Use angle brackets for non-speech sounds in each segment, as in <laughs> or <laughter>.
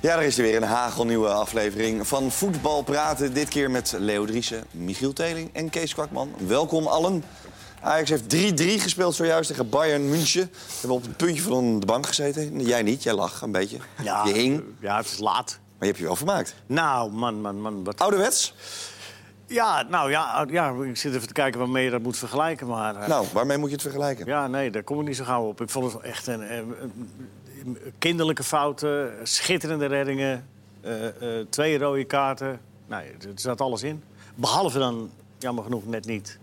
Ja, er is er weer een hagelnieuwe aflevering van Voetbal Praten. Dit keer met Leo Driessen, Michiel Teling en Kees Kwakman. Welkom allen. Ajax heeft 3-3 gespeeld zojuist tegen Bayern München. We hebben op het puntje van de bank gezeten. Jij niet, jij lag een beetje. Je hing, maar ja, het is laat. je hebt je wel vermaakt. Nou, man, man, man. Wat... Ouderwets? Ja, nou ja, ja, ik zit even te kijken waarmee je dat moet vergelijken. Maar eh, Nou, waarmee moet je het vergelijken? ja, nee, daar kom ik niet zo gauw op. Ik vond het echt een, een- een- kinderlijke fouten, schitterende reddingen, eh, eh, twee rode kaarten. Nee, er zat alles in. Behalve dan, jammer genoeg, net niet.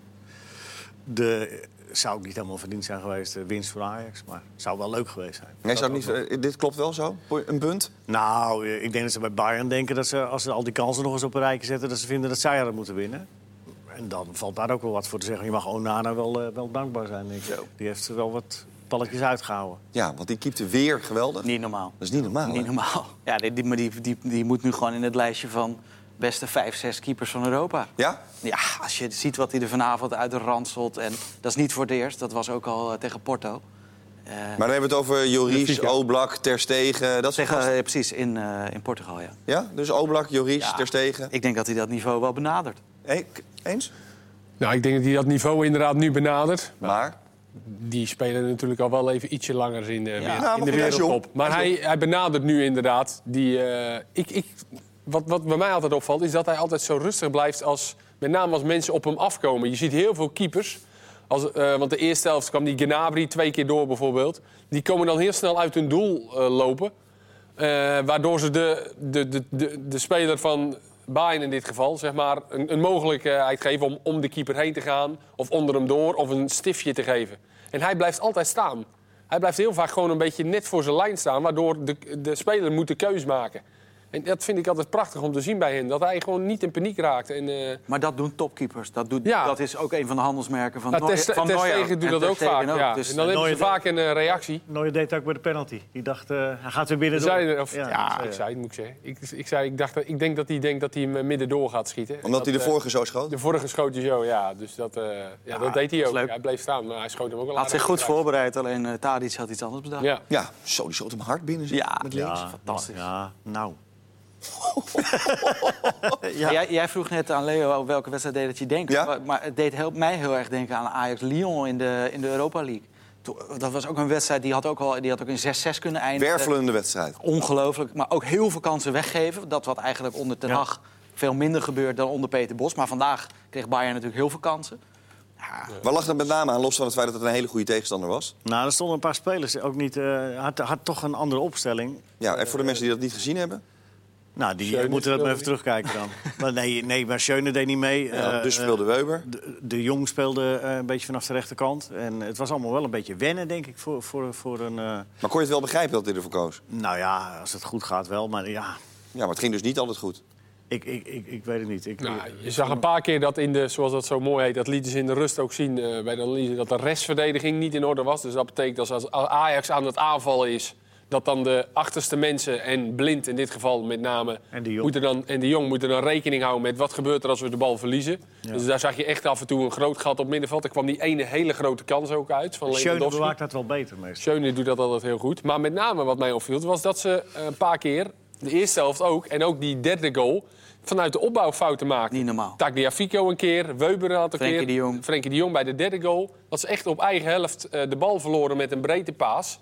De, zou ook niet helemaal verdiend zijn geweest, de winst voor Ajax. Maar het zou wel leuk geweest zijn. Nee, zou het niet, eh, dit klopt wel zo? Een punt? Nou, eh, ik denk dat ze bij Bayern denken dat ze, als ze al die kansen nog eens op een rijtje zetten, dat ze vinden dat zij hadden moeten winnen. En dan valt daar ook wel wat voor te zeggen. Je mag Onana wel, eh, wel dankbaar zijn, denk ik. Die heeft er wel wat balletjes uitgehouden. Ja, want die keepte weer geweldig. Niet normaal. Dat is niet normaal. hè? Niet normaal. <laughs> Ja, die, die, maar die, die, die moet nu gewoon in het lijstje van beste vijf, zes keepers van Europa. Ja? Ja, als je ziet wat hij er vanavond uit de ranselt. En dat is niet voor het eerst. Dat was ook al eh, tegen Porto. Eh, Maar dan hebben we het over Joris, Oblak, Ter Stegen. Dat soort tegen, gasten. eh, precies, in, eh, in Portugal, ja. Ja? Dus Oblak, Joris, Ja, Ter Stegen. Ik denk dat hij dat niveau wel benadert. Hey, k- eens? Nou, ik denk dat hij dat niveau inderdaad nu benadert. Maar? Die spelen natuurlijk al wel even ietsje langer in de, Ja, in Nou, maar de goed, hij is wereldtop. jong. Maar hij, hij benadert nu inderdaad die... eh, ik, ik, wat, wat bij mij altijd opvalt, is dat hij altijd zo rustig blijft... Als, met name als mensen op hem afkomen. Je ziet heel veel keepers... Als, eh, want de eerste helft kwam die Gnabry twee keer door bijvoorbeeld. Die komen dan heel snel uit hun doel eh, lopen. Eh, waardoor ze de, de, de, de, de speler van Bayern in dit geval zeg maar, een, een mogelijkheid geven om om de keeper heen te gaan. Of onder hem door, of een stiftje te geven. En hij blijft altijd staan. Hij blijft heel vaak gewoon een beetje net voor zijn lijn staan. Waardoor de, de speler moet de keus maken. En dat vind ik altijd prachtig om te zien bij hem. Dat hij gewoon niet in paniek raakt. En, eh, Maar dat doen topkeepers. Dat, doet, Ja. dat is ook een van de handelsmerken van, nou, Neuer- Ter- van Ter Neuer. Stegen doet En dat Ter ook Stegen vaak. ja. Dus en dan hebben ze Neuer- vaak een eh, reactie. Nooit deed het ook bij de penalty. Die dacht, eh, hij gaat weer binnen Ik zei, of, Ja, ja, dat eh, zei ik zei het, moet ik zeggen. Ik, ik, zei, ik, dacht, dat- ik denk dat hij denkt dat hij hem eh, middendoor gaat schieten. Omdat hij de eh, vorige zo schoot? De vorige schoot hij zo, ja. Dus dat, eh, ja, dat deed hij is ook. leuk. Hij bleef staan, maar hij schoot hem ook al had zich goed voorbereid. Alleen eh Tadic had iets anders bedacht. Ja. Ja, zo, die schoot hem hard binnen. zeg, Ja. met links. Ja, Fantastisch. Ah, Ja, nou. Ja. Jij, jij vroeg net aan Leo welke wedstrijd deed dat je denkt. Ja. Maar, maar het deed heel, mij heel erg denken aan Ajax-Lyon in de, in de Europa League. Toen- Dat was ook een wedstrijd die had ook, al, die had ook in 6-6 kunnen eindigen. Wervelende wedstrijd. Ongelooflijk, maar ook heel veel kansen weggeven. Dat wat eigenlijk onder Ten Ja. Hag veel minder gebeurt dan onder Peter Bos. Maar vandaag kreeg Bayern natuurlijk heel veel kansen. Waar lag dat met name aan, los van het feit dat het een hele goede tegenstander was? Nou, er stonden een paar spelers. Ook niet, eh, had, had toch een andere opstelling. Ja, en voor de mensen die dat niet gezien hebben. Nou, die Schöne moeten dat maar speelde even terugkijken dan. maar nee, nee, maar Schöne deed niet mee. ja, Eh, dus eh, speelde Weber. De, de Jong speelde eh, een beetje vanaf de rechterkant. En het was allemaal wel een beetje wennen, denk ik, voor, voor, voor een... eh, Maar kon je het wel begrijpen dat hij ervoor koos? nou ja, als het goed gaat wel, maar ja... Ja, maar het ging dus niet altijd goed. Ik, ik, ik, ik weet het niet. Ik, Nou, je zag een paar keer dat in de, zoals dat zo mooi heet, dat lieten ze in de rust ook zien eh, bij de analyse, dat de restverdediging niet in orde was. Dus dat betekent dat als als Ajax aan het aanvallen is, dat dan de achterste mensen en blind in dit geval met name En de Jong. moeten dan, en de jong moeten dan rekening houden met wat gebeurt er als we de bal verliezen. Dus daar zag je echt af en toe een groot gat op middenveld. Er kwam die ene hele grote kans ook uit van Schöne Lewandowski. bewaakt dat wel beter meestal. Schöne doet dat altijd heel goed. Maar met name wat mij opviel, was dat ze eh, een paar keer, de eerste helft ook, en ook die derde goal, vanuit de opbouw fouten maakten. Niet normaal. Tagliafico een keer, Weber een aantal Frenkie keer. de Jong. Frenkie de Jong bij de derde goal. Dat ze echt op eigen helft eh, de bal verloren met een breedte paas.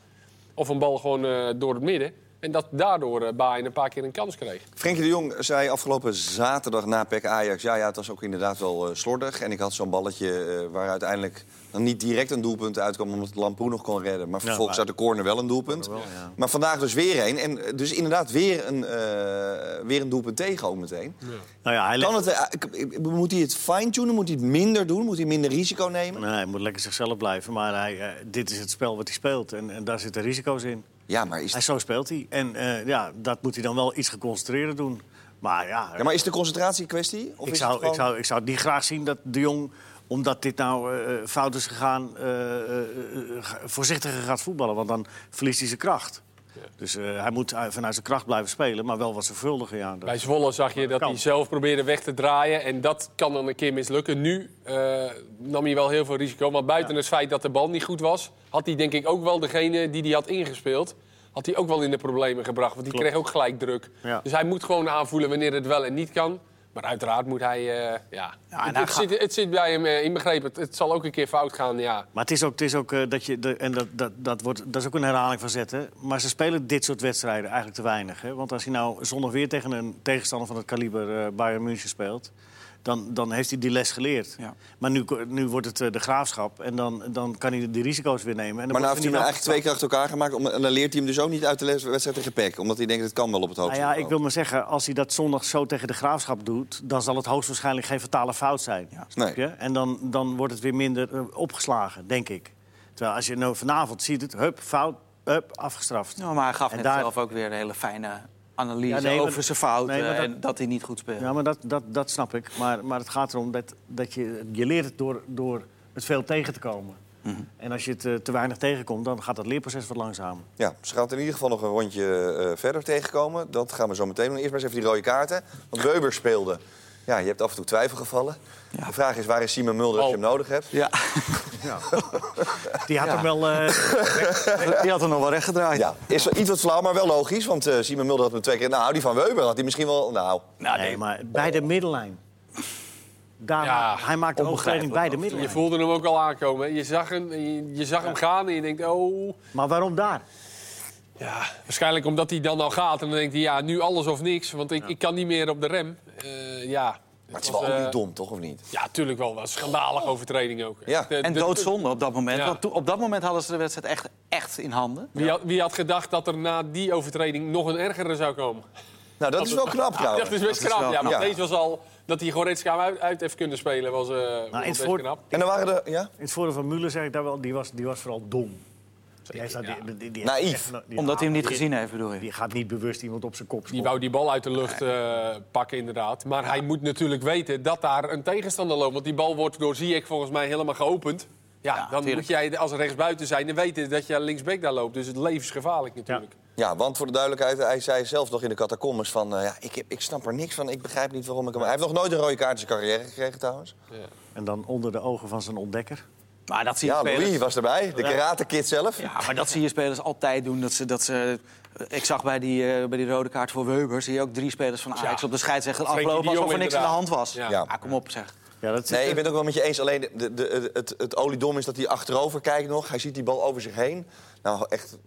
Of een bal gewoon eh, door het midden. En dat daardoor eh Bayern een paar keer een kans kreeg. Frenkie de Jong zei afgelopen zaterdag na PEC Ajax... ja, ja, het was ook inderdaad wel eh, slordig. En ik had zo'n balletje eh, waar uiteindelijk dan niet direct een doelpunt uitkwam... omdat Lamproe nog kon redden. Maar vervolgens maar- uit de corner wel een doelpunt. ja. Maar vandaag dus weer een. En eh, dus inderdaad weer een, eh, weer een doelpunt tegen ook meteen. Nou ja, hij Kan legt- het, eh, ik- ik- moet hij het fine-tunen? Moet hij het minder doen? Moet hij minder risico nemen? Nee, hij moet lekker zichzelf blijven. Maar hij, eh, dit is het spel wat hij speelt. En, en daar zitten risico's in. Ja, maar is, Hij, zo speelt hij. En eh, ja, dat moet hij dan wel iets geconcentreerder doen. Maar ja, ja, maar is de concentratie een kwestie? Of ik, is zou, het gewoon- ik, zou, ik zou niet graag zien dat de jong omdat dit nou eh, eh, fout is gegaan, eh, eh, eh, ga- voorzichtiger gaat voetballen. Want dan verliest hij zijn kracht. Dus eh, hij moet eh, vanuit zijn kracht blijven spelen, maar wel wat zorgvuldiger. Ja, Dat- Bij Zwolle zag je dat kan. hij zelf probeerde weg te draaien. En dat kan dan een keer mislukken. Nu eh, nam hij wel heel veel risico. Maar buiten het feit dat de bal niet goed was... had hij denk ik ook wel degene die hij had ingespeeld... had hij ook wel in de problemen gebracht. Want die Klopt. kreeg ook gelijk druk. Ja. Dus hij moet gewoon aanvoelen wanneer het wel en niet kan. Maar uiteraard moet hij... eh, ja. Ja, en het, hij het gaat- zit, het zit bij hem eh, inbegrepen. Het, het zal ook een keer fout gaan, ja. Maar het is ook, het is ook eh, dat je. De, en dat, dat, dat, wordt, dat is ook een herhaling van zetten. Maar ze spelen dit soort wedstrijden eigenlijk te weinig. Hè? Want als hij nou zondag weer tegen een tegenstander van het kaliber eh, Bayern München speelt. Dan, dan heeft hij die les geleerd. Ja. Maar nu, ko- nu wordt het eh, de graafschap. En dan, dan kan hij die risico's weer nemen. En dan Maar nou wordt heeft hij niet hem eigenlijk twee keer achter elkaar gemaakt. om- En dan leert hij hem dus ook niet uit de les- wedstrijd tegen PEC. Omdat hij denkt, het kan wel op het Nou hoogste ja, ik niveau. wil maar zeggen, als hij dat zondag zo tegen de graafschap doet, dan zal het hoogstwaarschijnlijk geen fatale fout zijn. Snap je? En dan, dan wordt het weer minder eh, opgeslagen, denk ik. Terwijl als je nou vanavond ziet het, hup, fout, hup, afgestraft. Ja, nou, maar hij gaf En net daar- zelf ook weer een hele fijne analyse Ja, nee, maar- over zijn fouten nee, maar dat- en dat hij niet goed speelt. Ja, maar dat, dat, dat snap ik. Maar, maar het gaat erom dat, dat je, je leert het door, door het veel tegen te komen. Mhm. En als je het eh, te weinig tegenkomt, dan gaat dat leerproces wat langzamer. Ja, ze gaat in ieder geval nog een rondje eh, verder tegenkomen. Dat gaan we zo meteen doen. Eerst maar eens even die rode kaarten. Want Beuber speelde. Ja, je hebt af en toe twijfelgevallen. Ja. De vraag is, waar is Simon Mulder Oh. als je hem nodig hebt? Ja, Die had Ja. hem wel... eh, <laughs> <laughs> die had er nog wel recht gedraaid. Ja, is wel iets wat flauw, maar wel logisch. Want eh Simon Mulder had hem twee keer... Nou, die van Weber had hij misschien wel... Nou, Nou, nee, maar bij de middenlijn. Daar, Ja, hij maakt een overtreding bij de Je middenlijn. voelde hem ook al aankomen. hè. Je zag hem, je, je zag hem gaan en je denkt, oh... Maar waarom daar? Ja, waarschijnlijk omdat hij dan al gaat en dan denkt hij, ja, nu alles of niks. Want ik, ik kan niet meer op de rem. Eh, ja. maar het is was, wel eh, niet dom, toch? Of niet? Ja, tuurlijk wel. Een schandalige overtreding ook. Ja. Echt, eh, En de- doodzonde op dat moment. Ja. Want toen- op dat moment hadden ze de wedstrijd echt, echt in handen. Wie had, wie had gedacht dat er na die overtreding nog een ergere zou komen? Nou, dat is wel knap trouwens. Oh, <laughs> dat is best is knap. wel ja, maar knap. deze was al dat hij Goretzka uit, uit heeft kunnen spelen. Was, eh was Nou, in het best voor- knap. En dan waren er... Ja? In het voordeel van Müller zeg ik daar wel, die was, die was vooral dom. Hij staat- ja. die- die- die- Naïef. echt no- die- Omdat hij hem niet die- gezien heeft, bedoel je. Die gaat niet bewust iemand op zijn kop Die schoppen. wou die bal uit de lucht eh, pakken, inderdaad. Maar hij moet natuurlijk weten dat daar een tegenstander loopt. Want die bal wordt door Ziyech volgens mij helemaal geopend. Ja, Ja, dan tuurlijk. moet jij als rechtsbuiten zijn en weten dat je linksback daar loopt. Dus het leven is gevaarlijk natuurlijk. Ja, want voor de duidelijkheid, hij zei zelf nog in de catacombes van... eh, ja, ik, heb- ik snap er niks van, ik begrijp niet waarom ik hem... Hij heeft nog nooit een rode kaart in zijn carrière gekregen trouwens. En dan onder de ogen van zijn ontdekker. Maar dat zie je Ja, spelers. Louis was erbij, de karate kid zelf. Ja, maar dat zie je spelers altijd doen. Dat ze, dat ze, ik zag bij die, eh, bij die rode kaart voor Weubers zie je ook drie spelers van Ajax Ja. op de scheidsrechter Frenkie aflopen de alsof er Jong niks aan de hand was. Ja. Ja. Ah, kom op zeg. Ja, dat is- Nee, ik ben het ook wel met je eens. Alleen de, de, het, het oliedom is dat hij achterover kijkt nog. Hij ziet die bal over zich heen. Nou, echt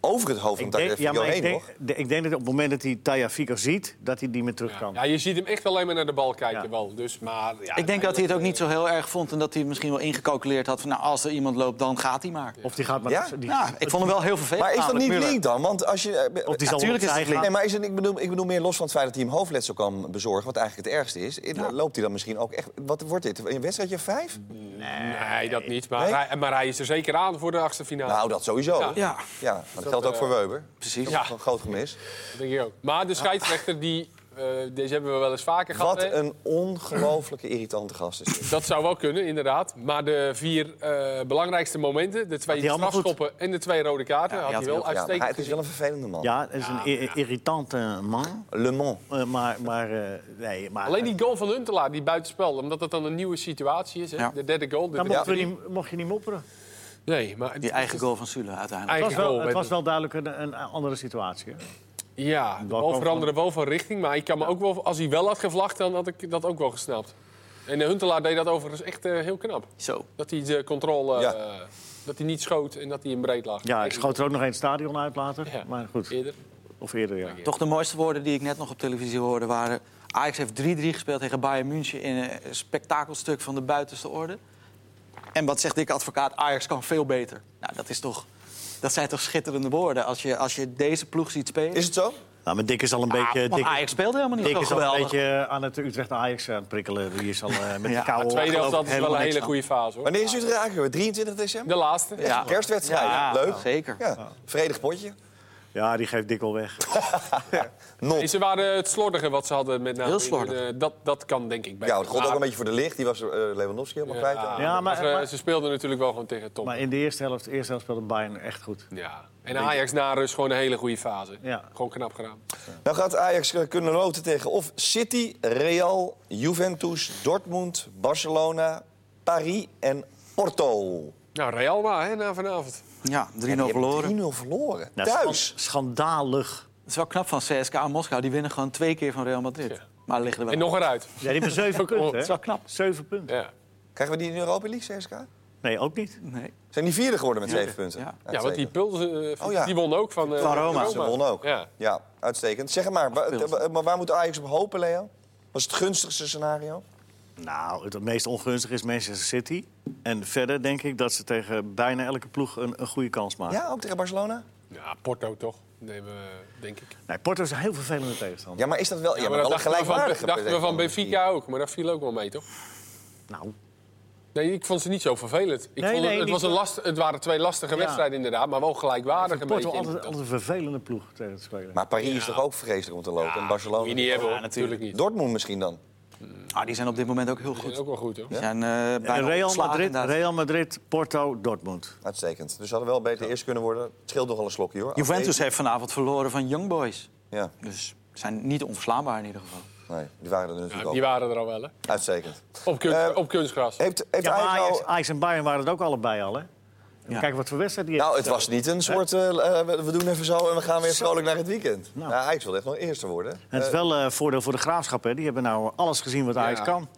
over het hoofd van Ik Tagliafico denk, ja, maar ik heen, denk, nog. de- ik denk dat op het moment dat hij Taya Fico ziet, dat hij die meer terug kan. Ja, je ziet hem echt alleen maar naar de bal kijken Ja. wel. Dus, maar, ja, Ik denk dat hij het ook niet zo heel erg vond en dat hij misschien wel ingecalculeerd had van nou, als er iemand loopt, dan gaat hij maar. Of die gaat maar... Ja? Die, Ja, nou, ik vond hem wel heel vervelend. Maar is Nou, dat namelijk, niet Müller. link dan? Want als je... eh, of die eh, zal tuurlijk is het opzij gaan. Nee, maar is het, ik, bedoel, ik bedoel meer los van het feit dat hij hem hoofdletsel kan bezorgen... wat eigenlijk het ergste is. eh, Loopt hij dan misschien ook echt... Wat wordt dit? Een wedstrijdje vijf? Nee, dat niet. Maar, Nee? hij, maar hij is er zeker aan voor de achtste finale. Nou, dat sowieso. Ja, Ja, maar dat, geldt ook voor Weber. precies. Dat Ja. is een groot gemis. Dat denk ik ook. Maar de scheidsrechter, die, eh, deze hebben we wel eens vaker gehad. Wat hè? een ongelooflijke irritante gast is dit. Dat zou wel kunnen, inderdaad. Maar de vier eh, belangrijkste momenten, de twee Had hij allemaal strafschoppen en de twee rode kaarten, had die hij had hij ook, wel ja. Ja, maar uitstekend hij, het is wel een vervelende man. Ja, dat is een i- irritante man. Le Mans. Eh, maar, maar, eh, nee, maar... Alleen die goal van Huntelaar, die buitenspel, omdat dat dan een nieuwe situatie is. Hè? Ja. De derde goal. De Dan derde- mocht, we niet, mocht je niet mopperen. Nee, maar e- Die eigen goal van Sule uiteindelijk. Het was eigen goal. wel, het met- was wel duidelijk een, een andere situatie. hè? Ja, de Bal bal kwam veranderde wel van richting. Maar ik kan me ook wel, als hij wel had gevlacht, dan had ik dat ook wel gesnapt. En de Huntelaar deed dat overigens echt eh, heel knap. Zo. Dat hij de controle, Ja. eh, dat hij niet schoot en dat hij in breed lag. Ja, ik Echt schoot er ook nog een het stadion uit later. Ja. Maar goed, Eerder. of eerder, ja. Toch de mooiste woorden die ik net nog op televisie hoorde waren... Ajax heeft 3-3 gespeeld tegen Bayern München in een spektakelstuk van de buitenste orde. En wat zegt Dick Advocaat? Ajax kan veel beter. Nou, dat, is toch, dat zijn toch schitterende woorden als je, als je deze ploeg ziet spelen. Is het zo? Nou, maar Dick is al een Ah, beetje... want Dick, Ajax speelde helemaal niet Dick zo is al een geweldig. beetje aan het Utrecht Ajax aan het prikkelen. Die is al eh, met Ja, de koude Tweede oren, helft, dat geloof ik, is wel een helemaal hele niks goede fase hoor. Wanneer is Utrecht eigenlijk? 23 december? De laatste. Ja. Kerstwedstrijd. Ja, Leuk. zeker. Ja. Vredig potje. aan. Ja, die geeft Dick al weg. Nee, Not. ze waren het slordige wat ze hadden met name. Heel in, slordig. eh, dat, dat kan denk ik bij. Ja, het gold ook een beetje voor de licht. Die was eh, Lewandowski helemaal kwijt. Ja, Ja, maar- maar, ze, maar- ze speelden natuurlijk wel gewoon tegen Tom. Maar in de eerste helft, de eerste helft speelde Bayern echt goed. Ja. En Ajax na rust gewoon een hele goede fase. Ja. Gewoon knap gedaan. Nou gaat Ajax eh, kunnen loten tegen of City, Real, Juventus, Dortmund, Barcelona, Paris en Porto. Nou, Real maar, hè, na vanavond. Ja, 3-0 verloren. 3-0 verloren. Nou, Thuis. schan- Schandalig. Het is wel knap van CSKA Moskou. Die winnen gewoon twee keer van Real Madrid. Ja. Maar liggen er wel En nog eruit. Ja, die hebben zeven punten, het hè? is wel knap. Zeven punten. Ja. Krijgen we die in de Europa League, CSK? Nee, ook niet. Nee. Zijn die vierde geworden met zeven punten? Ja, ja, want die Uitstekend. Puls, eh, Oh, ja. die won ook van, eh, Van Roma. Ze wonnen ook. Ja. Ja. uitstekend. Zeg maar, wa- Pilsen. wa- maar waar moet Ajax op hopen, Leo? Was het gunstigste scenario? Nou, het meest ongunstig is Manchester City. En verder denk ik dat ze tegen bijna elke ploeg een, een goede kans maken. Ja, ook tegen Barcelona? Ja, Porto toch, nemen we, denk ik. Nee, Porto is een heel vervelende tegenstander. Ja, maar is dat wel... Ja, maar, dat wel dachten we van- gelijkwaardig. dachten we van Benfica ook, maar dat viel ook wel mee, toch? Nou, Nee, ik vond ze niet zo vervelend. Ik Nee, vond het, nee, het niet was een last, het waren twee lastige Ja. wedstrijden inderdaad, maar wel gelijkwaardig een Porto beetje. altijd, altijd een vervelende ploeg tegen te spelen. Maar Paris is toch ook vreselijk om te lopen? en Moet je Barcelona? niet hebben, hoor. Ja, natuurlijk. natuurlijk niet. Dortmund misschien dan? Ah, die zijn op dit moment ook heel Dat goed. is ook wel goed, hoor. Die zijn eh, bijna En Real, ontslagen Madrid, inderdaad. Real Madrid, Porto, Dortmund. Uitstekend. Dus hadden wel beter eerst kunnen worden. Het scheelt nogal een slokje, hoor. Juventus heeft vanavond verloren van Young Boys. Ja, Dus zijn niet onverslaanbaar in ieder geval. nee, die waren er Ja, natuurlijk die al. waren er al wel, hè? Uitstekend. Op, kunst- Eh, op kunstgras. Heeft, heeft Ja, maar Ajax nou- Ajax, Ajax en Bayern waren het ook allebei al, hè? Ja. Kijk wat voor wedstrijd die Nou, heeft het was niet een soort... eh, eh, we we doen even zo en we gaan weer vrolijk naar het weekend. Nou. Nou. Ajax wil echt nog eerste worden. Het is wel eh voordeel voor de graafschap, hè? Die hebben nou alles gezien wat Ajax Ja. kan. <laughs>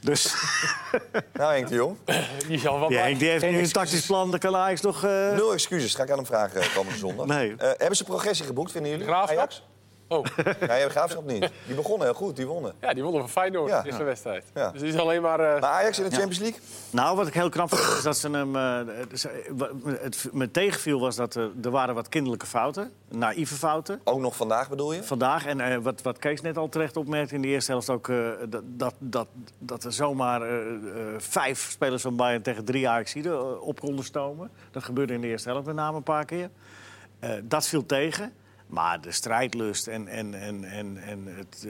Dus <laughs> Nou, Henk de Jong. <laughs> Die zal wat ja, bij- Henk, die heeft nu een tactisch plan. Dan kan Ajax nog... eh, Nul excuses, ga ik aan hem vragen eh, komende zondag. Nee. Eh, hebben ze progressie geboekt, vinden jullie? Graafschap? Ajax? Oh, Nee, de Graafschap niet. Die begonnen heel goed, die wonnen. ja, die wonnen van Feyenoord Ja. in de wedstrijd. Ja. Dus het is alleen maar... eh, Maar Ajax in de Champions League? Nou, wat ik heel knap vond, is dat ze hem... eh, ze- wa- het me tegenviel was dat eh, er, er waren wat kinderlijke fouten. Naïeve fouten. Ook nog vandaag bedoel je? Vandaag, en eh, wat, wat Kees net al terecht opmerkte in de eerste helft ook... eh, dat, dat, dat, dat er zomaar eh, eh, vijf spelers van Bayern tegen drie Ajaxiden eh, op konden stomen. Dat gebeurde in de eerste helft met name een paar keer. Eh, dat viel tegen. Maar de strijdlust en, en, en, en, en het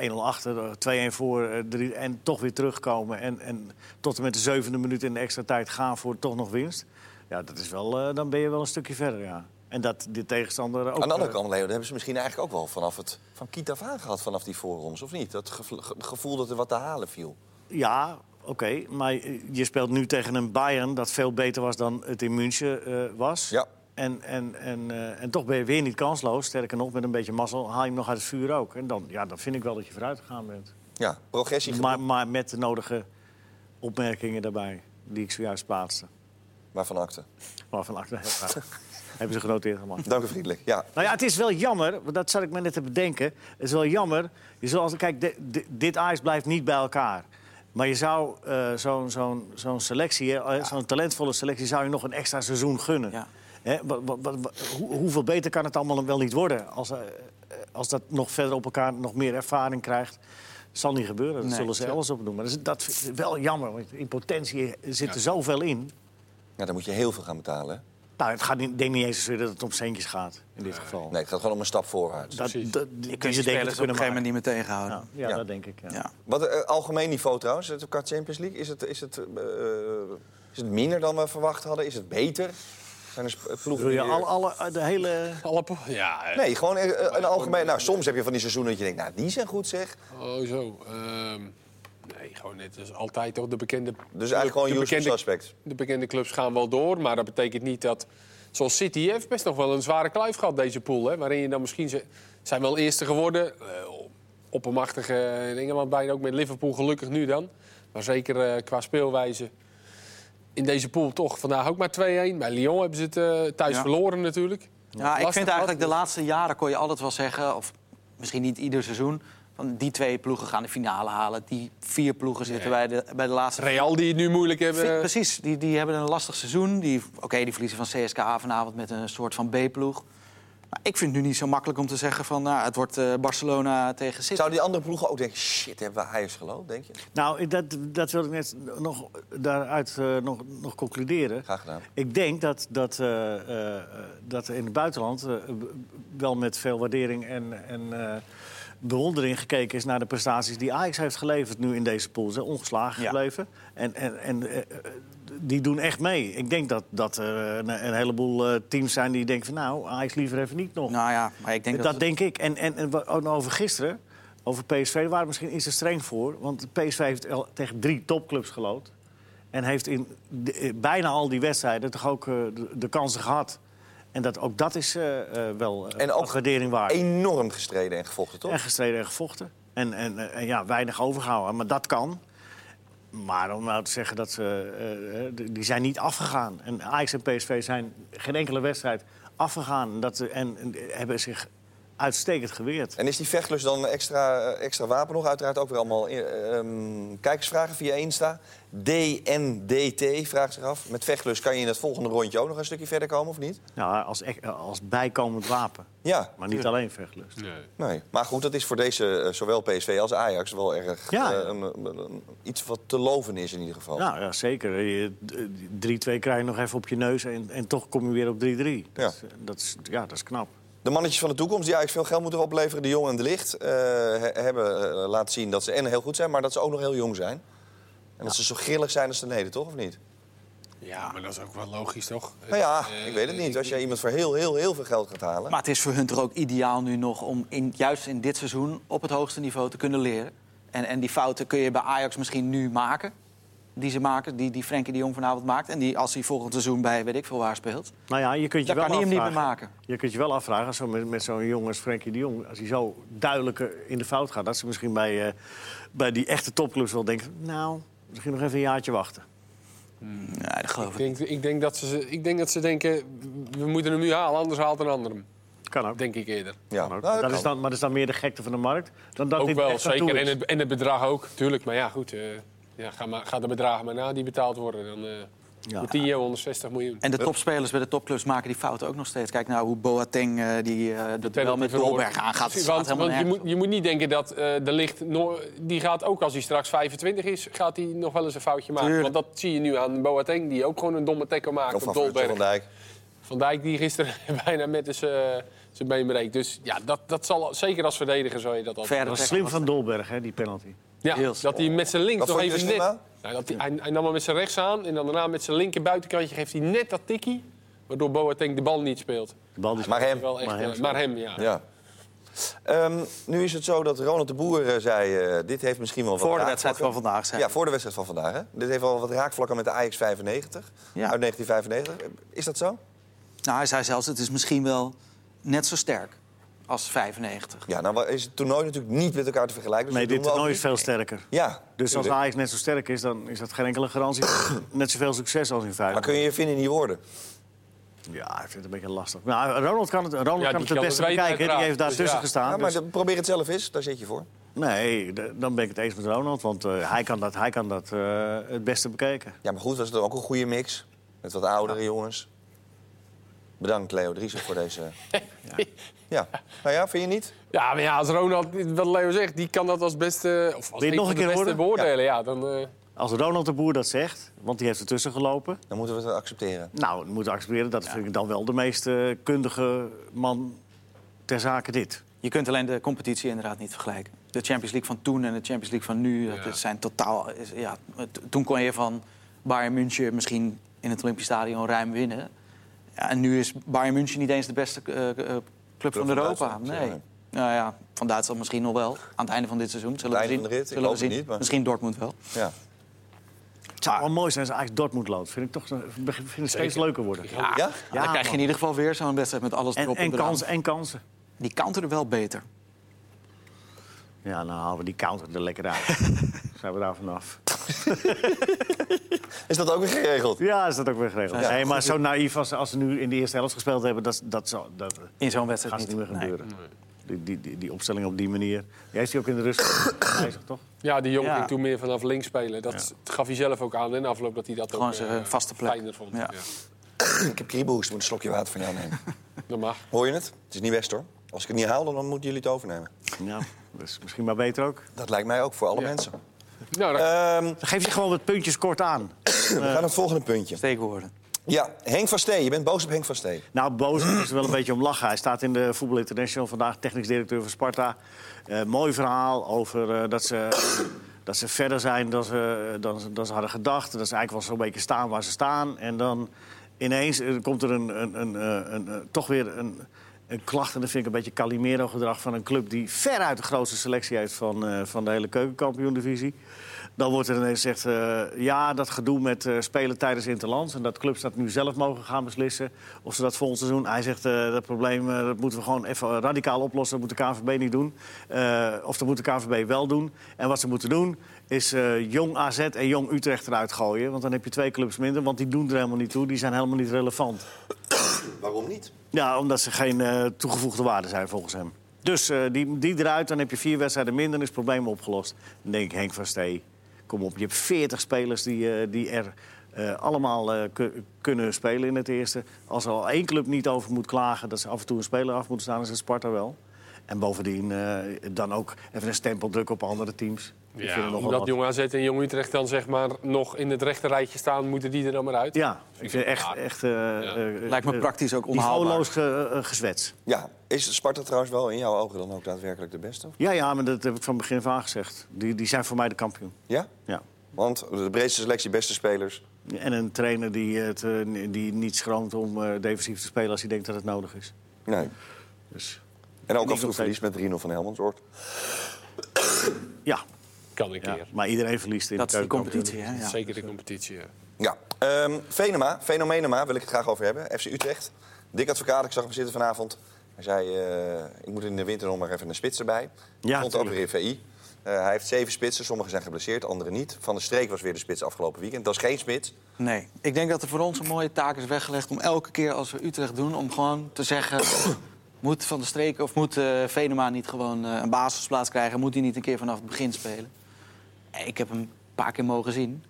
eh 1-0 achter, 2-1 voor eh, drie- en toch weer terugkomen. En, en tot en met de zevende minuut in de extra tijd gaan voor toch nog winst. Ja, dat is wel, eh, dan ben je wel een stukje verder, ja. En dat de tegenstander ook... Aan de eh, andere kant, Leo, dat hebben ze misschien eigenlijk ook wel vanaf het van Kiet af aan gehad vanaf die voorrondes, of niet? Dat gevo- ge- gevoel dat er wat te halen viel. Ja, oké. maar je speelt nu tegen een Bayern dat veel beter was dan het in München eh, was. Ja. En, en, en, eh, en toch ben je weer niet kansloos. Sterker nog, met een beetje mazzel haal je hem nog uit het vuur ook. En dan, ja, dan vind ik wel dat je vooruit gegaan bent. Ja, progressie geboekt. Maar, maar met de nodige opmerkingen daarbij, die ik zojuist plaatste. Maar van akte. Maar van achter <laughs> hebben ze genoteerd gemaakt. Dank u vriendelijk. Ja, Nou ja, het is wel jammer, want dat zat ik me net te bedenken. Het is wel jammer. Je zal altijd, kijk, de- de- dit ijs blijft niet bij elkaar. Maar je zou eh, zo'n zo'n zo'n selectie, hè, eh, zo'n talentvolle selectie, zou je nog een extra seizoen gunnen. Ja. Hè, wa- wa- wa- wa- hoe, hoeveel beter kan het allemaal wel niet worden? Als, eh, eh, als dat nog verder op elkaar nog meer ervaring krijgt. zal niet gebeuren. Dat Nee, zullen ze ja. alles op doen. Maar dat is, dat vind ik wel jammer, want in potentie zit er zoveel in. ja daar moet je heel veel gaan betalen. hè? Nou, het gaat niet, denk niet eens zozeer dat het om centjes gaat in dit geval. Nee, het gaat gewoon om een stap voorwaarts. Dat, Precies. dat, Je die kunt ze je denken spelers te op een kunnen gegeven maken. moment niet meer tegenhouden. Ja, ja, Ja. dat denk ik. Ja. Ja. Wat eh, algemeen niveau trouwens, het qua Champions League, is het, is, het, eh, is het minder dan we verwacht hadden? Is het beter? Zijn er sp- eh, ploegen Wil je die- al, alle, eh, de hele... alle po- ja, eh, Nee, gewoon eh, een algemeen. Nou, soms heb je van die seizoenen dat je denkt, nou, die zijn goed zeg. oh zo. ehm, nee, gewoon net als altijd toch. De bekende, Dus de- eigenlijk gewoon de een usual bekende, suspect. de bekende clubs gaan wel door, maar dat betekent niet dat... Zoals City heeft best nog wel een zware kluif gehad, deze pool. Hè, waarin je dan misschien... Ze zijn wel eerste geworden. eh, oppermachtige eh, in Engeland bijna ook met Liverpool, gelukkig nu dan. Maar zeker eh, qua speelwijze in deze pool toch. Vandaag ook maar 2-1. Bij Lyon hebben ze het eh, thuis Ja. verloren natuurlijk. Ja, Nou, ik Lastig vind gehad. eigenlijk de laatste jaren kon je altijd wel zeggen, of misschien niet ieder seizoen, van die twee ploegen gaan de finale halen. Die vier ploegen zitten bij, de, bij de laatste. Real die het nu moeilijk hebben. Vind- Precies, die, die hebben een lastig seizoen. Die- Oké, die verliezen van CSKA vanavond met een soort van B-ploeg. Maar ik vind het nu niet zo makkelijk om te zeggen van nou, het wordt eh, Barcelona tegen City. Zouden die andere ploegen ook denken, shit, hebben we Ajax geloofd, denk je? Nou, dat, dat wil ik net nog daaruit eh, nog, nog concluderen. Graag gedaan. Ik denk dat, dat, eh, eh, eh, dat in het buitenland eh, b- wel met veel waardering en, en eh, bewondering gekeken is naar de prestaties die Ajax heeft geleverd nu in deze pool. Ze zijn ongeslagen Ja. gebleven. En, en, en eh, eh, die doen echt mee. Ik denk dat, dat er een, een heleboel eh, teams zijn die denken van nou, Ajax liever even niet nog. Nou ja, maar ik denk dat... dat denk ik. En, en, en wa- ook over gisteren, over PSV, daar waren we misschien iets te streng voor. Want PSV heeft al tegen drie topclubs gelood. En heeft in de- eh, bijna al die wedstrijden toch ook eh, de, de kansen gehad. En dat, ook dat is eh, eh, wel eh, En ook een waardering waard. Enorm gestreden en gevochten, toch? En gestreden en gevochten. En, en, eh, en ja, weinig overgehouden. Maar dat kan. Maar om nou te zeggen dat ze... eh, eh, die- die zijn niet afgegaan. En Ajax en PSV zijn geen enkele wedstrijd afgegaan. Dat, eh, en, en hebben zich uitstekend geweerd. En is die vechtlust dan extra, eh, extra wapen nog? Uiteraard ook weer allemaal eh, ehm, kijkersvragen via Insta. DNDT vraagt zich af. Met vechtlust kan je in het volgende rondje ook nog een stukje verder komen, of niet? Nou, als, ek- eh, als bijkomend wapen. Ja, Maar niet alleen vechtlust. nee. Maar goed, dat is voor deze, eh, zowel PSV als Ajax, wel erg Ja. eh, een- een- een- iets wat te loven is in ieder geval. Nou ja, zeker. Je- eh, 3-2 krijg je nog even op je neus en, en toch kom je weer op 3-3. Dat, is- dat, is- ja, dat is knap. De mannetjes van de toekomst, die Ajax veel geld moeten opleveren, de Jong en de Licht, eh, he- hebben eh, laten zien dat ze en heel goed zijn, maar dat ze ook nog heel jong zijn. En dat ze zo grillig zijn als de neden, toch? Of niet? Ja, maar dat is ook wel logisch, toch? Nou ja, ik weet het niet. Als jij iemand voor heel, heel, heel veel geld gaat halen. Maar het is voor hun toch ook ideaal nu nog om in, juist in dit seizoen op het hoogste niveau te kunnen leren. En, en die fouten kun je bij Ajax misschien nu maken. Die ze maken, die, die Frenkie de Jong vanavond maakt. En die als hij volgend seizoen bij weet ik veel waar speelt. Nou ja, je kunt je Dan wel kan hij hem niet meer afvragen. maken. Je kunt je wel afvragen, als zo met, met zo'n jongen als Frenkie de Jong... als hij zo duidelijk eh, in de fout gaat... dat ze misschien bij, eh, bij die echte topclubs wel denken... nou, misschien nog even een jaartje wachten. Nee, dat geloof Ik ik. denk, ik, denk dat ze, ik denk dat ze denken, we moeten hem nu halen, anders haalt een ander hem. Kan ook. Denk ik eerder. Ja, Kan ook. nou, dat dat is dan, kan. maar dat is dan meer de gekte van de markt... dan dat ook dit wel, echt naartoe zeker. En is. het, en het bedrag ook, tuurlijk. Maar ja, goed. eh, ja, ga, maar, ga de bedragen maar na die betaald worden. Dan eh Ja. Coutinho 160 miljoen. En de topspelers bij de topclubs maken die fouten ook nog steeds. Kijk nou hoe Boateng eh, die eh de duel met Dolberg aangaat. Dat slaat Want, helemaal want je, nergens moet, op. je moet niet denken dat eh, de licht... no- die gaat ook als hij straks 25 is, gaat hij nog wel eens een foutje maken. Tuurlijk. Want dat zie je nu aan Boateng, die ook gewoon een domme tackle maakt Of van op Virgil Dolberg. van Dijk. Van Dijk die gisteren <laughs> bijna met dus, eh, zijn been breekt. Dus ja, dat, dat zal zeker als verdediger zou je dat altijd... Verre Dat was tackle slim was van Dolberg, hè, die penalty. Ja, Heel slim. dat hij met zijn links Wat nog vond je even er net... slim aan? Nou, dat hij, hij, hij nam hem met zijn rechts aan en dan daarna met zijn linker buitenkantje geeft hij net dat tikkie... waardoor Boateng de bal niet speelt. De bal die Maar hem. Wel echt, Maar eh, hem maar hem, speelt. ja. Ja. Ehm, nu is het zo dat Ronald de Boer eh, zei... eh, dit heeft misschien wel wat Voor de wedstrijd raakvlakken. van vandaag zijn. Ja, voor de wedstrijd van vandaag. Hè? Dit heeft wel wat raakvlakken met de Ajax 95 Ja. uit 1995. Is dat zo? Nou, hij zei zelfs, het is misschien wel net zo sterk als 95. Ja, nou is het toernooi natuurlijk niet met elkaar te vergelijken. Dus Nee, dat dit doen we ook toernooi is niet. veel sterker. Ja, Dus als tuurlijk. Ajax net zo sterk is, dan is dat geen enkele garantie... voor <coughs> net zoveel succes als in Maar vijf. kun je je vinden in die woorden? Ja, ik vind het een beetje lastig. Maar Ronald kan het, Ronald die kan het kan het het beste weten, bekijken. hè. Die uiteraard. heeft daar Dus tussen ja. Ja, gestaan. maar dus- dan probeer het zelf eens, daar zit je voor. Nee, d- dan ben ik het eens met Ronald, want eh, hij kan dat, hij kan dat eh, het beste bekijken. Ja, maar goed, was het ook een goede mix. Met wat oudere jongens. Bedankt, Leo Driesen, voor <laughs> deze... Ja. ja, nou ja, vind je niet? Ja, maar ja, als Ronald, wat Leo zegt, die kan dat als beste... Of als je het nog van een keer de beste horen? beoordelen, ja. dan, eh, Als Ronald de Boer dat zegt, want die heeft ertussen gelopen... Dan moeten we het accepteren. nou, dan moet ik accepteren, dat vind ik dan wel de meest eh, kundige man ter zake dit. Je kunt alleen de competitie inderdaad niet vergelijken. De Champions League van toen en de Champions League van nu, dat Ja. zijn totaal... is- Ja, t- toen kon je van Bayern München misschien in het Olympisch Stadion ruim winnen. Ja, en nu is Bayern München niet eens de beste eh, eh, club, van, van Europa. Duitsland, Nee. zeg maar. Nou ja, van Duitsland misschien nog wel. Aan het einde van dit seizoen. Zullen Het we zien. einde van de rit, ik Zullen we hoop het zien. niet, maar- Misschien Dortmund wel. Ja. Het zou wel mooi zijn als Ajax Dortmund loopt. Vind ik toch eh, vind ik steeds leuker worden. Ja? Ja, dan krijg je in man. ieder geval weer zo'n wedstrijd met alles En, erop en, en, eraan. kansen, en kansen. Die counteren wel beter. Ja, nou halen we die counter er lekker <laughs> uit. Zijn we daar vanaf. Is dat ook weer geregeld? Ja, is dat ook weer geregeld. Ja. Nee, maar zo naïef als, als ze nu in de eerste helft gespeeld hebben... dat, dat, zou, dat In zo'n wedstrijd gaat niet. niet meer Nee. gebeuren. Die, die, die, die opstelling op die manier. Jij is die ook in de rust <coughs> gewijzigd, toch? Ja, die jong Ja. ging toen meer vanaf links spelen. Dat gaf hij zelf ook aan in de afloop dat hij dat Gewoon ook zijn eh, vaste plek. fijner vond. Ja. Ja. Ik heb kriebelhoest, ik moet een slokje water van jou <laughs> nemen. Dat mag. Hoor je het? Het is niet best hoor. Als ik het niet haal, dan moeten jullie het overnemen. Ja, dat is misschien maar beter ook. Dat lijkt mij ook voor alle Ja. mensen. Nou, dat- Ehm, Dan geef je gewoon wat puntjes kort aan. we gaan naar het volgende puntje. Steekwoorden. Ja, Henk van Stee. Je bent boos op Henk van Stee. Nou, boos is er wel een beetje om lachen. Hij staat in de Voetbal International vandaag, technisch directeur van Sparta. Eh, mooi verhaal over eh, dat, ze, dat ze verder zijn dan ze, dan, ze- dan ze hadden gedacht. Dat ze eigenlijk wel zo'n beetje staan waar ze staan. En dan ineens eh, komt er een, een, een, eh, een, eh, toch weer een, een klacht. En dat vind ik een beetje Calimero-gedrag van een club... die veruit de grootste selectie heeft van, eh, van de hele keukenkampioen-divisie. Dan wordt er ineens gezegd, eh, ja, dat gedoe met eh, spelen tijdens Interlands... en dat clubs dat nu zelf mogen gaan beslissen of ze dat volgend seizoen... Hij zegt, eh, dat probleem eh, dat moeten we gewoon even radicaal oplossen. Dat moet de KVB niet doen. Eh, of dat moet de KVB wel doen. En wat ze moeten doen is eh, jong AZ en jong Utrecht eruit gooien. Want dan heb je twee clubs minder, want die doen er helemaal niet toe. Die zijn helemaal niet relevant. Waarom niet? Ja, omdat ze geen eh, toegevoegde waarde zijn volgens hem. Dus eh, die, die eruit, dan heb je vier wedstrijden minder en is het probleem opgelost. Dan denk ik, Henk van Stee, kom op. Je hebt veertig spelers die, eh, die er eh, allemaal eh, ku- kunnen spelen in het eerste. Als er al één club niet over moet klagen dat ze af en toe een speler af moeten staan, is het Sparta wel. En bovendien eh, dan ook even een stempel drukken op andere teams. Die vinden nogal omdat wat. Jong AZ en Jong Utrecht dan zeg maar nog in het rechterrijtje staan, moeten die er dan maar uit. Ja, ik vind echt, echt eh eh, Lijkt me eh, praktisch ook onhaalbaar. niveauloos ge- eh, gezwets. Ja, is Sparta trouwens wel in jouw ogen dan ook daadwerkelijk de beste? Ja, ja, maar dat heb ik van begin af aan gezegd. Die, die zijn voor mij de kampioen. Ja? Ja. Want de breedste selectie, beste spelers. En een trainer die, het, eh, die niet schroomt om eh, defensief te spelen als hij denkt dat het nodig is. Nee. Dus En ook nog af en toe steeds. verlies met 3-0 van Helmondsoort. ja, Kan een ja. keer. maar iedereen verliest in Dat de is die keukenkampioen. competitie, hè? Ja. Zeker de competitie. ja. Ja. Ehm Venema, Fenomenema wil ik het graag over hebben. FC Utrecht. Dik advocaat, ik zag hem zitten vanavond. Hij zei, eh, ik moet in de winter nog maar even een spits erbij. Ja, Stond ook weer in tuurlijk. VI. Eh, hij heeft zeven spitsen, sommige zijn geblesseerd, andere niet. Van de Streek was weer de spits afgelopen weekend. Dat is geen spits. Nee, ik denk dat er voor ons een mooie taak is weggelegd om elke keer als we Utrecht doen, om gewoon te zeggen. <coughs> moet Van de Streek of moet eh, Venema niet gewoon eh, een basisplaats krijgen? Moet hij niet een keer vanaf het begin spelen? Eh, Ik heb hem een paar keer mogen zien.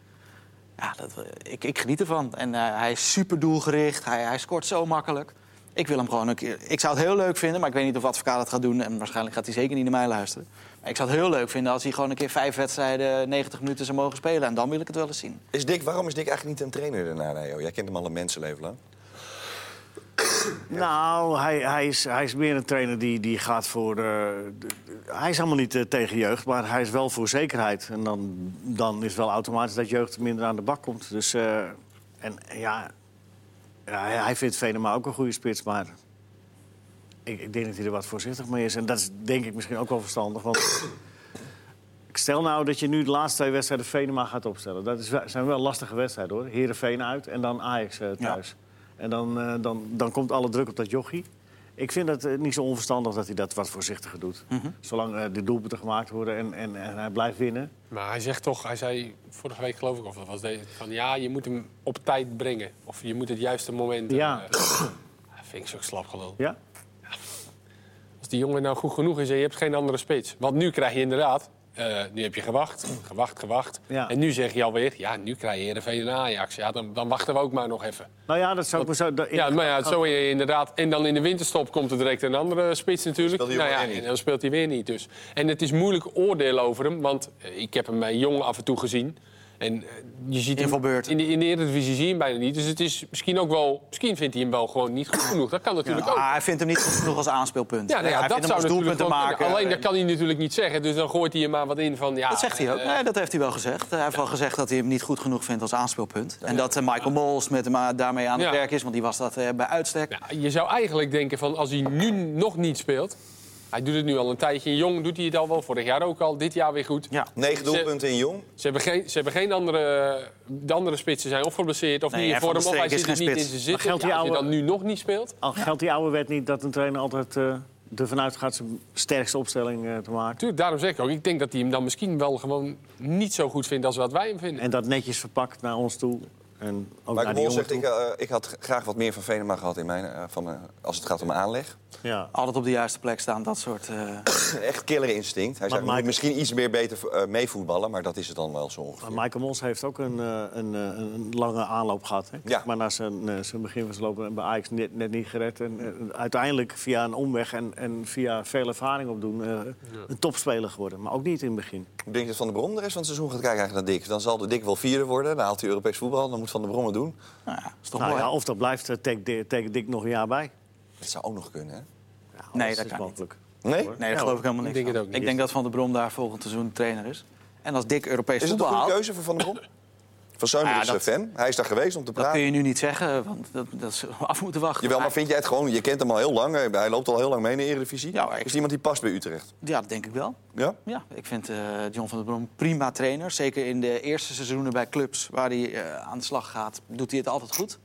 Ja, dat, eh, ik, ik geniet ervan. En eh, hij is super doelgericht, hij, hij scoort zo makkelijk. Ik wil hem gewoon een keer. Ik zou het heel leuk vinden, maar ik weet niet of advocaat het gaat doen. En waarschijnlijk gaat hij zeker niet naar mij luisteren. Maar ik zou het heel leuk vinden als hij gewoon een keer vijf wedstrijden, 90 minuten zou mogen spelen. En dan wil ik het wel eens zien. Is Dick, waarom is Dick eigenlijk niet een trainer daarna, Leo? Jij kent hem al een mensenleven lang. Nou, hij, hij, is, hij is meer een trainer die, die gaat voor... eh, de- de- hij is helemaal niet eh, tegen jeugd, maar hij is wel voor zekerheid. En dan, dan is wel automatisch dat jeugd minder aan de bak komt. Dus, eh, en eh, ja, ja, hij- hij vindt Venema ook een goede spits, maar... Ik, ik denk dat hij er wat voorzichtig mee is. En dat is denk ik misschien ook wel verstandig, want... Ik Stel nou dat je nu de laatste twee wedstrijden Venema gaat opstellen. Dat is, wel- zijn wel lastige wedstrijden hoor. Herenveen uit en dan Ajax eh, thuis. En dan, eh, dan, dan komt alle druk op dat jochie. Ik vind het eh, niet zo onverstandig dat hij dat wat voorzichtiger doet. Zolang eh, de doelpunten gemaakt worden en, en, en hij blijft winnen. Maar hij zegt toch, hij zei vorige week geloof ik of dat was deze, van ja, je moet hem op tijd brengen. Of je moet het juiste moment... Ja. eh, dat vind ik zo slap gelul. Ja? Als die jongen nou goed genoeg is en je hebt geen andere spits. Want nu krijg je inderdaad, eh, nu heb je gewacht, gewacht, gewacht. Ja. En nu zeg je alweer, ja, nu krijg je Heerenveen en Ajax. Ja, dan, dan wachten we ook maar nog even. Nou ja, dat zou ik me zo... dat- Ja, maar ja, zo je inderdaad. En dan in de winterstop komt er direct een andere spits natuurlijk. Speelt hij nou ook ja, weer niet. en dan speelt hij weer niet. Dus. En het is moeilijk oordeel over hem, want eh, ik heb hem bij Jong af en toe gezien. En eh, je ziet hem Invalbeurten. in de, in de Eredivisie zie je hem bijna niet. Dus het is misschien ook wel. Misschien vindt hij hem wel gewoon niet goed genoeg. Dat kan natuurlijk ook. Ah, hij vindt hem niet goed genoeg als aanspeelpunt. Ja, nou ja, hij dat vindt zou hem als natuurlijk doelpunt te wel kunnen. maken. Alleen dat kan hij natuurlijk niet zeggen. Dus dan gooit hij er maar wat in van... Ja, Dat zegt hij ook. eh, Nee, dat heeft hij wel gezegd. Hij heeft wel gezegd dat hij hem niet goed genoeg vindt als aanspeelpunt. En dat eh, Michael Mols met hem eh, daarmee aan het Ja. werk is, want die was dat eh, bij uitstek. ja, je zou eigenlijk denken van als hij nu nog niet speelt... Hij doet het nu al een tijdje. In Jong doet hij het al wel. Vorig jaar ook al. Dit jaar weer goed. Ja. Negen doelpunten in Jong. Ze hebben geen, ze hebben geen andere... De andere spitsen zijn of geblesseerd of Nee, niet in en Van vorm. der Of hij Streek is zit er geen niet in spits. zijn zitten. Maar geldt die Ja, als je dan oude- nu nog niet speelt... Al geldt die oude wet niet dat een trainer altijd eh ervan uitgaat zijn sterkste opstelling eh, te maken. Tuurlijk, daarom zeg ik ook. Ik denk dat hij hem dan misschien wel gewoon niet zo goed vindt als wat wij hem vinden. En dat netjes verpakt naar ons toe. En ook Maar naar de die jongen Mol zegt, toe. ik, eh, ik had graag wat meer van Venema gehad in mijn, eh, van, eh, als het gaat om aanleg. <laughs> Ja. Altijd op de juiste plek staan, dat soort... eh, Echt killer instinct. Hij zei, Mike- we moeten misschien iets meer beter eh, meevoetballen, maar dat is het dan wel zo ongeveer. Maar Michael Mons heeft ook een, eh, een, eh, een lange aanloop gehad. Hè? Ja. Maar na zijn, eh, zijn begin van zijn lopen en bij Ajax net, net niet gered. En eh, uiteindelijk via een omweg en, en via veel ervaring opdoen... eh, een topspeler geworden. Maar ook niet in het begin. Oh, Ik denk dat Van der Brom de rest van het seizoen gaat kijken eigenlijk naar Dick. Dan zal de Dick wel vierde worden, dan haalt hij Europees voetbal, dan moet Van der Brom het doen. nou ja, is toch Nou, mooi. ja, of dat blijft, eh, take, Di- take Dick nog een jaar bij. Dat zou ook nog kunnen, hè? Ja, alles Nee, dat is kan niet. mogelijk. Nee? Nee, daar Ja, geloof ik helemaal ik niks denk het van. ook niet. Ik denk dat Van der Brom daar volgend seizoen trainer is. En als Dick Europees Is het een voetbal goede <coughs> haalt... keuze voor Van der Brom? Van Seumer Ah, is dat- een fan. Hij is daar geweest om te Dat kun praten. je nu niet zeggen, want dat, dat is af moeten wachten. Jawel, Maar maar vind jij het gewoon... Je kent hem al heel lang. eh, Hij loopt al heel lang mee in de Eredivisie. Ja, maar ik- Is iemand die past bij Utrecht? Ja, dat denk ik wel. Ja? Ja, ik vind eh, John van der Brom prima trainer. Zeker in de eerste seizoenen bij clubs waar hij eh, aan de slag gaat, doet hij het altijd goed.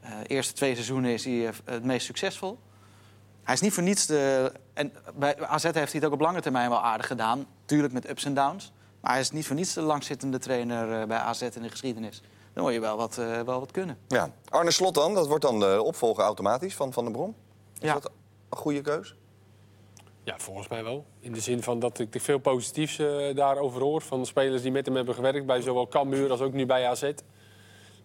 Eh eerste twee seizoenen is hij eh, het meest succesvol. Hij is niet voor niets de... En bij AZ heeft hij het ook op lange termijn wel aardig gedaan. Tuurlijk met ups en downs. Maar hij is niet voor niets de langzittende trainer eh, bij AZ in de geschiedenis. Dan moet je wel wat, eh, wel wat kunnen. ja. Arne Slot dan. Dat wordt dan de opvolger automatisch van Van den Brom. Is Ja. dat een goede keus? Ja, volgens mij wel. In de zin van dat ik er veel positiefs eh, daarover hoor. Van spelers die met hem hebben gewerkt bij zowel Cambuur als ook nu bij AZ.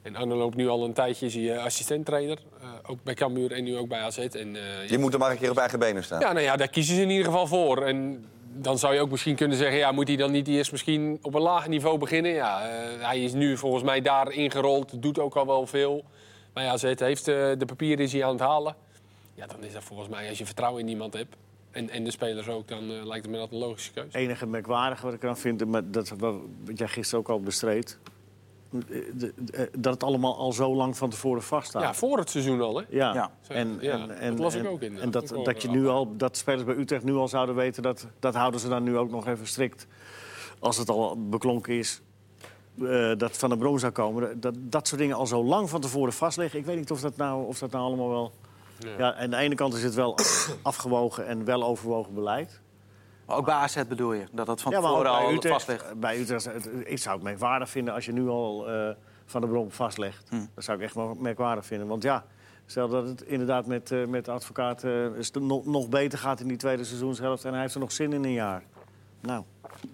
En Arne loopt nu al een tijdje, is hij eh, assistent-trainer. Eh, ook bij Cambuur en nu ook bij AZ. En, eh, Je moet er maar een keer op eigen benen staan. ja, nou ja, daar kiezen ze in ieder geval voor. En dan zou je ook misschien kunnen zeggen... Ja, moet hij dan niet eerst misschien op een lager niveau beginnen? Ja, eh, hij is nu volgens mij daar ingerold. Doet ook al wel veel. Bij AZ heeft eh, de papieren is hij aan het halen. Ja, dan is dat volgens mij... Als je vertrouwen in iemand hebt... En, en de spelers ook, dan eh, lijkt het me dat een logische keuze. Het enige merkwaardige wat ik eraan vind, maar dat wat jij gisteren ook al bestreed, eh, de- de- eh, dat het allemaal al zo lang van tevoren vaststaat. Ja, voor het seizoen al, hè? Ja, Ja. En, Ja, en, en, dat las ik en- ook in. eh, En dat, Dat ook dat, je wel. nu al, dat spelers bij Utrecht nu al zouden weten, dat, dat houden ze dan nu ook nog even strikt. Als het al beklonken is eh, dat Van der Brom zou komen. Dat, dat soort dingen al zo lang van tevoren vast liggen. Ik weet niet of dat nou, of dat nou allemaal wel... Ja. aan de ene kant is het wel <coughs> afgewogen en wel overwogen beleid. Maar ook bij AZ bedoel je, dat dat van Ja, maar ook tevoren bij al Utrecht, vast ligt. Bij Utrecht, het- ik zou het merkwaardig vinden als je nu al eh, Van de Brom vastlegt. Dat zou ik echt wel merkwaardig vinden. Want ja, stel dat het inderdaad met, eh, met de advocaat eh, is het nog, nog beter gaat in die tweede seizoenshelft... en hij heeft er nog zin in een jaar. Nou,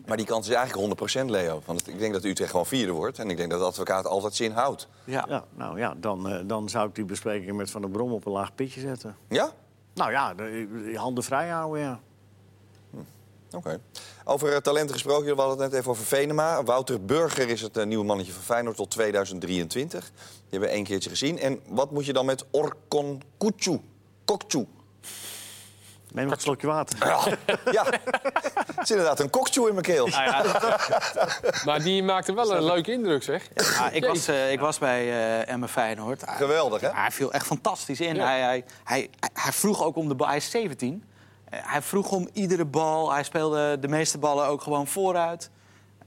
Maar die kans is eigenlijk 100% Leo. Want ik denk dat Utrecht gewoon vierde wordt. En ik denk dat de advocaat altijd zin houdt. Ja. ja, nou ja, dan, eh, dan zou ik die bespreking met Van der Brom op een laag pitje zetten. Ja? Nou ja, de- je handen vrij houden, ja. Oké. Over eh, talenten gesproken, jullie hadden het net even over Venema. Wouter Burger is het eh, nieuwe mannetje van Feyenoord tot 2023. Die hebben we één keertje gezien. En wat moet je dan met Orkon Kutsu? Kokchu. Neem nog een slokje water. Ja, <laughs> Ah, ja. het is inderdaad een kokchu in mijn keel. Maar die maakte wel een leuke indruk, zeg. Ja, ik, was, eh, ik was bij eh Emma Feyenoord. Hij- Geweldig, hè? Hij viel echt fantastisch in. Ja. Hij, hij, hij, hij vroeg ook om de bal. Hij is 17. Eh, Hij vroeg om iedere bal. Hij speelde de meeste ballen ook gewoon vooruit.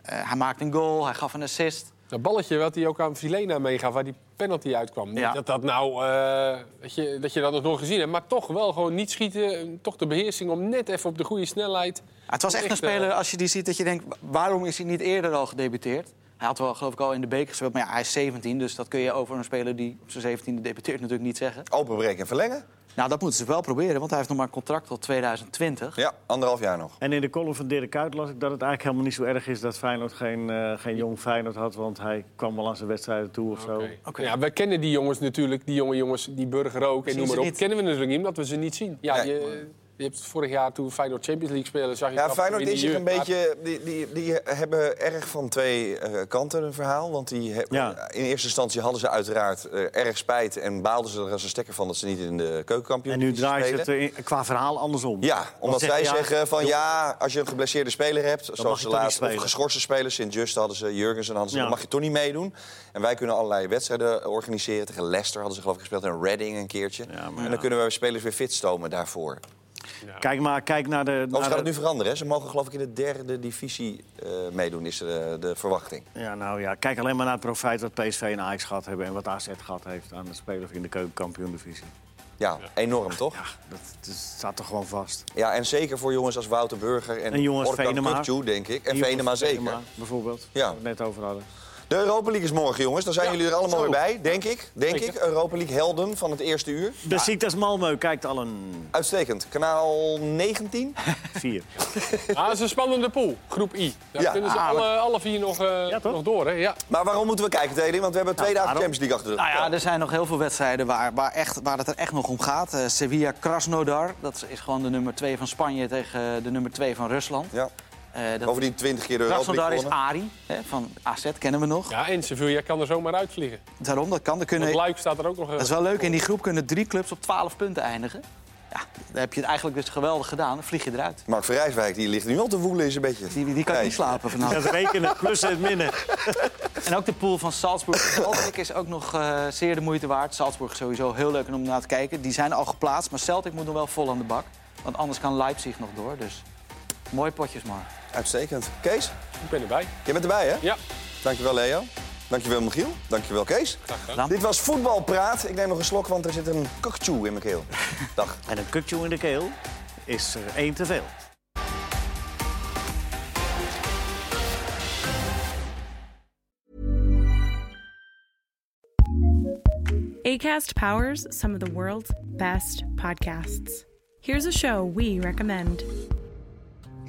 Eh, hij maakte een goal. Hij gaf een assist. Dat balletje wat hij ook aan Vilena meegaf, waar die penalty uitkwam. Niet Ja. Dat dat nou, eh, dat, je, dat je dat nog nooit gezien hebt. Maar toch wel gewoon niet schieten. Toch de beheersing om net even op de goede snelheid. Ah, Het was echt een eh, speler, als je die ziet, dat je denkt... wa- waarom is hij niet eerder al gedebuteerd? Hij had wel, geloof ik, al in de beker gespeeld. Maar ja, hij is 17, dus dat kun je over een speler die op zijn 17e debuteert natuurlijk niet zeggen. Openbreken en verlengen? Nou, dat moeten ze wel proberen, want hij heeft nog maar een contract tot 2020. Ja, anderhalf jaar nog. En in de column van Dirk Kuyt las ik dat het eigenlijk helemaal niet zo erg is... dat Feyenoord geen, eh, geen jong Feyenoord had, want hij kwam wel aan zijn wedstrijden toe of zo. Oké. Ja, we kennen die jongens natuurlijk, die jonge jongens, die burger ook en Zien noem maar ze op. niet. Kennen we natuurlijk niet, omdat we ze niet zien. Ja, Nee. je, je hebt vorig jaar toen Feyenoord Champions League spelen, zag je Ja, dat Feyenoord in de is zich een jeugd. beetje... Die, die, die hebben erg van twee eh, kanten een verhaal. Want die hebben- Ja. in eerste instantie hadden ze uiteraard eh, erg spijt... en baalden ze er als een stekker van dat ze niet in de keukenkampioen En nu draaien ze het eh, qua verhaal andersom. Ja, omdat zegt wij hij zeggen van joh, ja, als je een geblesseerde speler hebt... mag zoals je de toch niet laatste of spelen. geschorste spelers... Sint-Just hadden ze, Jurgensen hadden ze... Ja. dan mag je toch niet meedoen. En wij kunnen allerlei wedstrijden organiseren. Tegen Leicester hadden ze geloof ik gespeeld en Reading een keertje. Ja, maar en dan ja. kunnen we spelers weer fit stomen daarvoor. Kijk maar, kijk naar de... Overigens Naar gaat het de- nu veranderen. Hè? Ze mogen geloof ik in de derde divisie eh, meedoen, is de, de verwachting. Ja, nou ja, kijk alleen maar naar het profijt wat PSV en Ajax gehad hebben... en wat AZ gehad heeft aan de spelers in de keukenkampioen-divisie. Ja, enorm toch? Ja, dat, dat staat toch gewoon vast. Ja, en zeker voor jongens als Wouter Burger en, En jongens Orkan Venema. Kutju, denk ik. En Jongens, Venema zeker. bijvoorbeeld, Ja. waar we het net over hadden. De Europa League is morgen, jongens. Dan zijn jullie er allemaal zo. weer bij, denk ik. Denk ik. Europa League helden van het eerste uur. De ziektes Malmö kijkt al een Uitstekend. Kanaal 19. vier. Ah, het is een spannende pool, groep I. Daar Ja. kunnen ze Ah, alle, alle vier nog, eh, Ja, toch? nog door, hè? Ja. Maar waarom moeten we kijken, Teddy? Want we hebben twee dagen waarom? Champions League achter de rug. Nou ja, er zijn nog heel veel wedstrijden waar, waar, echt, waar het er echt nog om gaat. Eh, Sevilla Krasnodar, dat is gewoon de nummer 2 van Spanje tegen eh, de nummer 2 van Rusland. Ja. Eh, dat- Bovendien 20 keer de Europa Krasnodar League is gewonnen. Ari, hè, van AZ kennen we nog. ja, en Sevilla kan er zomaar uitvliegen. Daarom, dat kan. Er kunnen, Want Luik staat er ook nog. eh, dat is wel leuk, in die groep kunnen drie clubs op 12 punten eindigen. Ja, dan heb je het eigenlijk dus geweldig gedaan. Dan vlieg je eruit. Mark van Rijswijk, die ligt nu al te woelen is een beetje. Die, die kan Kijk. niet slapen vanavond. Het rekenen, plus en minnen. En ook de pool van Salzburg op het ogenblik is ook nog eh, zeer de moeite waard. Salzburg is sowieso heel leuk om naar te kijken. Die zijn al geplaatst, maar Celtic moet nog wel vol aan de bak. Want anders kan Leipzig nog door. Dus mooi potjes, maar. Uitstekend. Kees, Ik ben erbij. jij bent erbij, hè? Ja. Dankjewel, Leo. Dankjewel, Michiel. Dankjewel, Kees. gedaan. Dit was Voetbalpraat. Ik neem nog een slok, want er zit een kakchoe in mijn keel. Dag. En een kutjoe in de keel is er één te veel. ACAST powers some of the world's best podcasts. Here's a show we recommend.